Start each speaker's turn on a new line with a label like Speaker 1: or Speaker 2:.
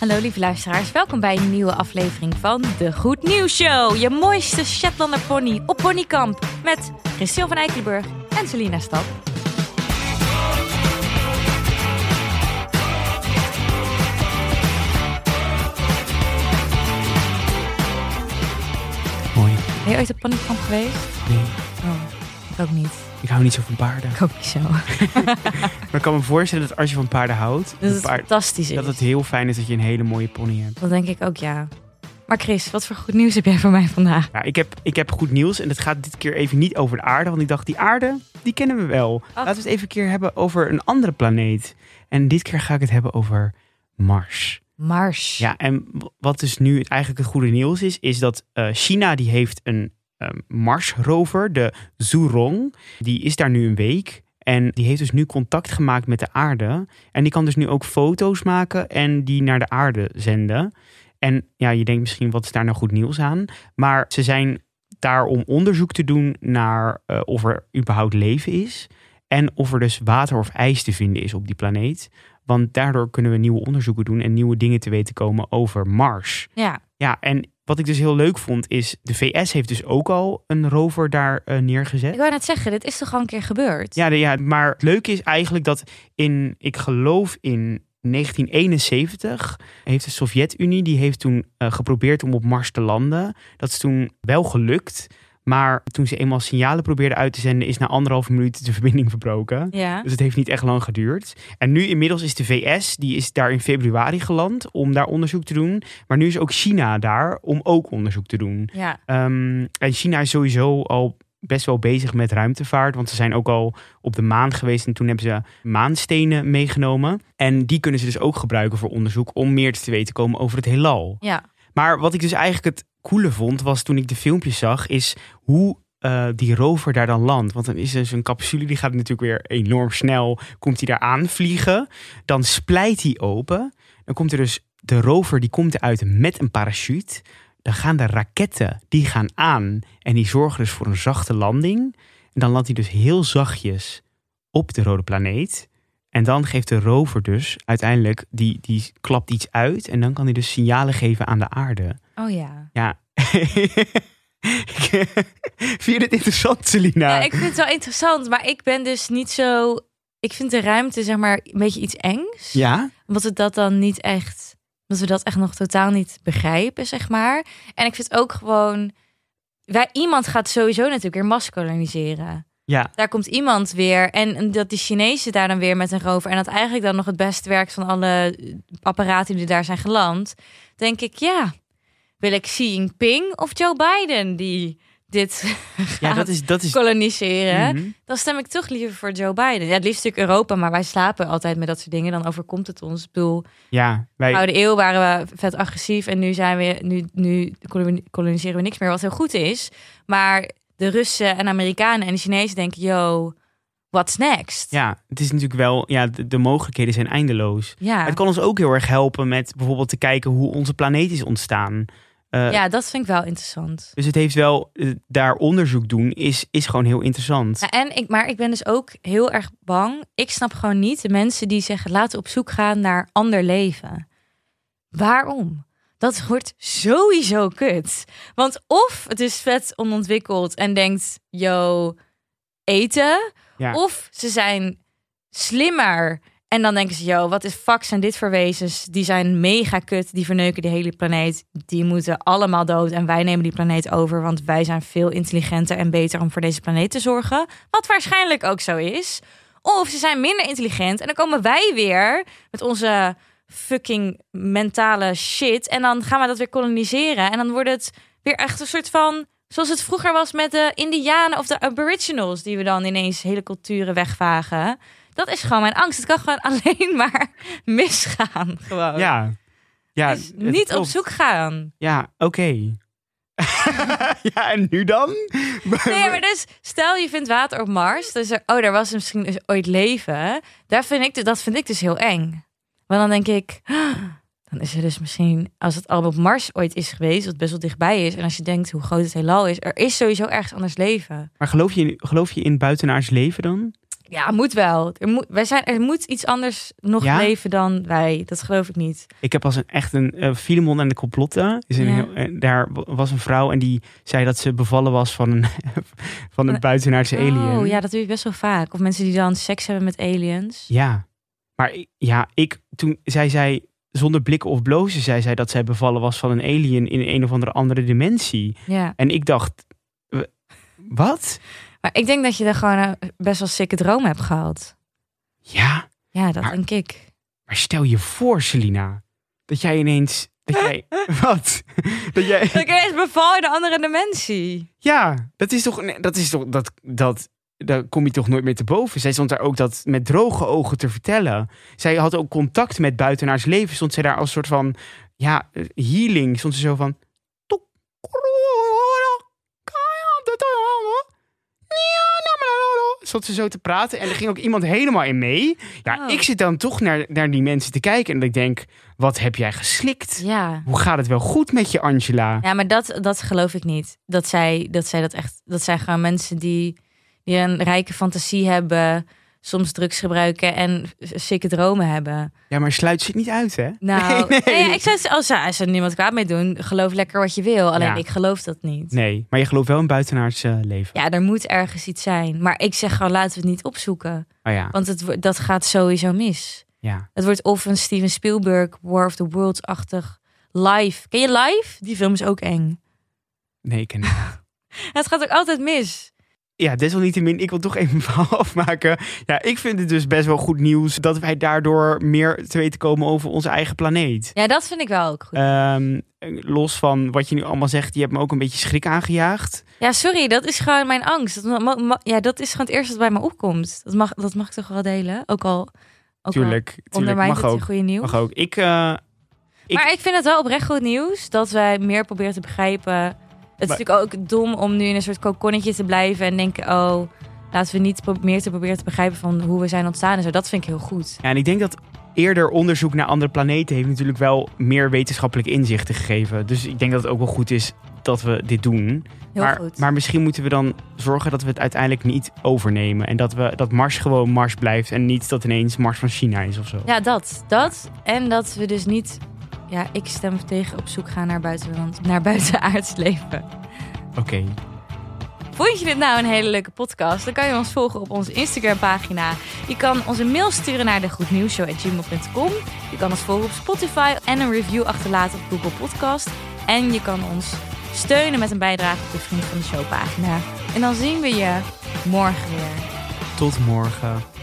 Speaker 1: Hallo lieve luisteraars, welkom bij een nieuwe aflevering van de Goed Nieuws Show. Je mooiste Shetlander pony op ponykamp met Christian van Eikelenburg en Selina Stap.
Speaker 2: Mooi.
Speaker 1: Ben je ooit op ponykamp geweest?
Speaker 2: Nee,
Speaker 1: Oh, ik ook niet.
Speaker 2: ik hou niet zo van paarden.
Speaker 1: Ik ook niet zo.
Speaker 2: Maar ik kan me voorstellen dat als je van paarden houdt,
Speaker 1: Dat
Speaker 2: een
Speaker 1: het
Speaker 2: paard-
Speaker 1: fantastisch is.
Speaker 2: dat het heel fijn is dat je een hele mooie pony hebt.
Speaker 1: Dat denk ik ook, ja. Maar Chris, wat voor goed nieuws heb jij voor mij vandaag?
Speaker 2: Ja, ik, heb, ik heb goed nieuws en het gaat dit keer even niet over de aarde, want ik dacht die aarde, die kennen we wel. Laten we het even een keer hebben over een andere planeet. En dit keer ga ik het hebben over Mars.
Speaker 1: Mars.
Speaker 2: e- Ja, en w- wat dus nu het- eigenlijk het goede nieuws is, is dat eh, China die heeft een ehm, Mars-rover, de Zhurong. Die is daar nu een week en die heeft dus nu contact gemaakt met de aarde. En die kan dus nu ook foto's maken en die naar de aarde zenden. En ja, je denkt misschien, wat is daar nou goed nieuws aan? Maar ze zijn daar om onderzoek te doen naar eh, of er überhaupt leven is. En of er dus water of ijs te vinden is op die planeet. Want daardoor kunnen we nieuwe onderzoeken doen en nieuwe dingen te weten komen over Mars.
Speaker 1: Ja.
Speaker 2: Ja, en wat ik dus heel leuk vond is, de VS heeft dus ook al een rover daar eh, neergezet.
Speaker 1: Ik wou net zeggen, dit is toch al een keer gebeurd?
Speaker 2: Ja, de- ja, maar het leuke is eigenlijk dat in, ik geloof in 1971 heeft de Sovjet-Unie, die heeft toen eh, geprobeerd om op Mars te landen. Dat is toen wel gelukt, maar toen ze eenmaal signalen probeerden uit te zenden, is na anderhalf minuut de verbinding verbroken.
Speaker 1: Ja.
Speaker 2: Dus het heeft niet echt lang geduurd. En nu inmiddels is de VS, die is daar in februari geland om daar onderzoek te doen. Maar nu is ook China daar om ook onderzoek te doen.
Speaker 1: Ja.
Speaker 2: Ehm, en China is sowieso al best wel bezig met ruimtevaart. Want ze zijn ook al op de maan geweest. En toen hebben ze maanstenen meegenomen. En die kunnen ze dus ook gebruiken voor onderzoek. Om meer te weten te komen over het heelal.
Speaker 1: Ja.
Speaker 2: Maar wat ik dus eigenlijk het coole vond. Was toen ik de filmpjes zag. Is hoe... eh, die rover daar dan landt. Want dan is er zo'n capsule, die gaat natuurlijk weer enorm snel. Komt hij daar aanvliegen. Dan splijt hij open. Dan komt er dus de rover, die komt eruit met een parachute. Dan gaan de raketten, die gaan aan. En die zorgen dus voor een zachte landing. En dan landt hij dus heel zachtjes op de rode planeet. En dan geeft de rover dus uiteindelijk, die, die klapt iets uit. En dan kan hij dus signalen geven aan de aarde.
Speaker 1: Oh ja.
Speaker 2: Ja. Vind je dit interessant, Selina?
Speaker 1: Ja, ik vind het wel interessant, maar ik ben dus niet zo... Ik vind de ruimte, zeg maar, een beetje iets engs.
Speaker 2: Ja?
Speaker 1: Omdat het dat dan niet echt... Omdat we dat echt nog totaal niet begrijpen, zeg maar. En ik vind ook gewoon... Wij, iemand gaat sowieso natuurlijk weer Mars koloniseren.
Speaker 2: Ja.
Speaker 1: Daar komt iemand weer. En dat die Chinezen daar dan weer met een rover... en dat eigenlijk dan nog het beste werkt van alle eh, apparaten die daar zijn geland... denk ik, ja, wil ik Xi Jinping of Joe Biden die dit
Speaker 2: Ja, dat is... Dat is
Speaker 1: koloniseren...
Speaker 2: Mhm.
Speaker 1: Dan stem ik toch liever voor Joe Biden. Ja, het liefst natuurlijk Europa, maar wij slapen altijd met dat soort dingen. Dan overkomt het ons. Ik bedoel,
Speaker 2: Ja, wij...
Speaker 1: oude eeuw waren we vet agressief en nu zijn we nu, nu koloni- koloniseren we niks meer, wat heel goed is. Maar de Russen en Amerikanen en de Chinezen denken, yo, what's next?
Speaker 2: Ja, het is natuurlijk wel... Ja, de, de mogelijkheden zijn eindeloos.
Speaker 1: ja.
Speaker 2: Het kan ons ook heel erg helpen met bijvoorbeeld te kijken hoe onze planeet is ontstaan. Eh,
Speaker 1: Ja, dat vind ik wel interessant.
Speaker 2: Dus het heeft wel, eh, daar onderzoek doen is, is gewoon heel interessant.
Speaker 1: Ja, en ik, maar ik ben dus ook heel erg bang. Ik snap gewoon niet de mensen die zeggen laten we op zoek gaan naar ander leven. Waarom? Dat wordt sowieso kut. Want of het is vet onontwikkeld en denkt, yo, eten.
Speaker 2: Ja.
Speaker 1: Of ze zijn slimmer en dan denken ze, yo, wat is fuck zijn dit voor wezens? Die zijn mega kut, die verneuken de hele planeet. Die moeten allemaal dood en wij nemen die planeet over... want wij zijn veel intelligenter en beter om voor deze planeet te zorgen. Wat waarschijnlijk ook zo is. Of ze zijn minder intelligent en dan komen wij weer met onze fucking mentale shit... en dan gaan we dat weer koloniseren en dan wordt het weer echt een soort van... Zoals het vroeger was met de Indianen of de Aboriginals, die we dan ineens hele culturen wegvagen. Dat is gewoon mijn angst. Het kan gewoon alleen maar misgaan. Gewoon.
Speaker 2: Ja, ja
Speaker 1: Dus
Speaker 2: het
Speaker 1: niet op
Speaker 2: klopt.
Speaker 1: zoek gaan.
Speaker 2: Ja, oké. ja, en nu dan?
Speaker 1: Nee, maar dus stel je vindt water op Mars. Dus er, oh, daar was misschien dus ooit leven. Daar vind ik, dat vind ik dus heel eng. Want dan denk ik, dan is er dus misschien, als het al op Mars ooit is geweest, wat best wel dichtbij is. En als je denkt hoe groot het heelal is, er is sowieso ergens anders leven.
Speaker 2: Maar geloof je, in- geloof je in buitenaards leven dan?
Speaker 1: Ja, moet wel. Er moet, wij zijn, er moet iets anders nog
Speaker 2: Ja?
Speaker 1: leven dan wij. Dat geloof ik niet.
Speaker 2: Ik heb als een echt een eh, Filemon en de complotten. Is een
Speaker 1: Ja.
Speaker 2: heel- eh, daar wa- was een vrouw en die zei dat ze bevallen was van een, van een
Speaker 1: Een-
Speaker 2: buitenaardse alien.
Speaker 1: Oh ja, dat doe ik best wel vaak. Of mensen die dan seks hebben met aliens.
Speaker 2: Ja. Maar ik- ja, ik toen zij zei zonder blikken of blozen zei zij dat zij bevallen was van een alien in een of andere andere dimensie.
Speaker 1: Ja.
Speaker 2: En ik dacht w- wat?
Speaker 1: Maar ik denk dat je daar gewoon een best wel sikke droom hebt gehad.
Speaker 2: Ja,
Speaker 1: Ja, dat
Speaker 2: Maar-
Speaker 1: denk ik.
Speaker 2: maar stel je voor Selina dat jij ineens dat jij wat? Dat jij
Speaker 1: Dat ik ineens beval in een andere dimensie.
Speaker 2: Ja, dat is toch nee, dat is toch dat dat daar kom je toch nooit meer te boven. Zij stond daar ook dat met droge ogen te vertellen. Zij had ook contact met buitenaars leven. Stond zij daar als soort van ja, eh, healing. Stond ze zo van nou, Stond ze zo te praten en er ging ook iemand helemaal in mee. Ja,
Speaker 1: Oh.
Speaker 2: ik zit dan toch naar, naar die mensen te kijken en ik denk, wat heb jij geslikt?
Speaker 1: Ja.
Speaker 2: Hoe gaat het wel goed met je, Angela?
Speaker 1: Ja, maar dat, dat geloof ik niet. Dat zij dat, zij dat echt. Dat zijn gewoon mensen die, die een rijke fantasie hebben. Soms drugs gebruiken en sikke dromen hebben.
Speaker 2: Ja, maar sluit zit niet uit, hè?
Speaker 1: Nou,
Speaker 2: Nee, nee.
Speaker 1: nou ja, ik zou ze- als ze- als ze er niemand kwaad mee doen, geloof lekker wat je wil. Alleen
Speaker 2: Ja.
Speaker 1: ik geloof dat niet.
Speaker 2: Nee, maar je gelooft wel in buitenaards eh, leven.
Speaker 1: Ja, er moet ergens iets zijn. Maar ik zeg gewoon, laten we het niet opzoeken.
Speaker 2: Oh ja,
Speaker 1: Want het, wo- dat gaat sowieso mis.
Speaker 2: ja.
Speaker 1: Het wordt of een Steven Spielberg War of the Worlds-achtig live. Ken je live? Die film is ook eng.
Speaker 2: Nee, ik ken het.
Speaker 1: En het gaat ook altijd mis.
Speaker 2: Ja, desalniettemin, ik wil toch even een verhaal afmaken. Ja, ik vind het dus best wel goed nieuws dat wij daardoor meer te weten komen over onze eigen planeet.
Speaker 1: Ja, dat vind ik wel ook goed.
Speaker 2: Ehm, los van wat je nu allemaal zegt, je hebt me ook een beetje schrik aangejaagd.
Speaker 1: Ja, sorry, dat is gewoon mijn angst. Dat, ma- ma- ja, dat is gewoon het eerste wat bij me opkomt. Dat mag, dat mag ik toch wel delen? Ook al, ook
Speaker 2: tuurlijk,
Speaker 1: al
Speaker 2: tuurlijk.
Speaker 1: ondermijnt
Speaker 2: Mag
Speaker 1: het je
Speaker 2: ook,
Speaker 1: goede nieuws.
Speaker 2: mag ook. Ik, eh, Ik-
Speaker 1: Maar ik vind het wel oprecht goed nieuws dat wij meer proberen te begrijpen. Het is
Speaker 2: Maar-
Speaker 1: natuurlijk ook dom om nu in een soort kokonnetje te blijven en denken: oh, laten we niet pro- meer te proberen te begrijpen van hoe we zijn ontstaan en zo. Dat vind ik heel goed.
Speaker 2: ja, en ik denk dat eerder onderzoek naar andere planeten heeft natuurlijk wel meer wetenschappelijk inzichten gegeven. Dus ik denk dat het ook wel goed is dat we dit doen.
Speaker 1: Heel
Speaker 2: maar,
Speaker 1: goed.
Speaker 2: maar misschien moeten we dan zorgen dat we het uiteindelijk niet overnemen. En dat, we, dat Mars gewoon Mars blijft. En niet dat ineens Mars van China is of zo.
Speaker 1: Ja, dat. Dat. En dat we dus niet. Ja, ik stem tegen op zoek gaan naar buitenland, naar buitenaards leven.
Speaker 2: Oké.
Speaker 1: Vond je dit nou een hele leuke podcast? Dan kan je ons volgen op onze Instagram-pagina. Je kan onze mail sturen naar de goednieuwsshow.gmail.com. Je kan ons volgen op Spotify en een review achterlaten op Google Podcast. En je kan ons steunen met een bijdrage op de Vriend van de Show-pagina. En dan zien we je morgen weer.
Speaker 2: Tot morgen.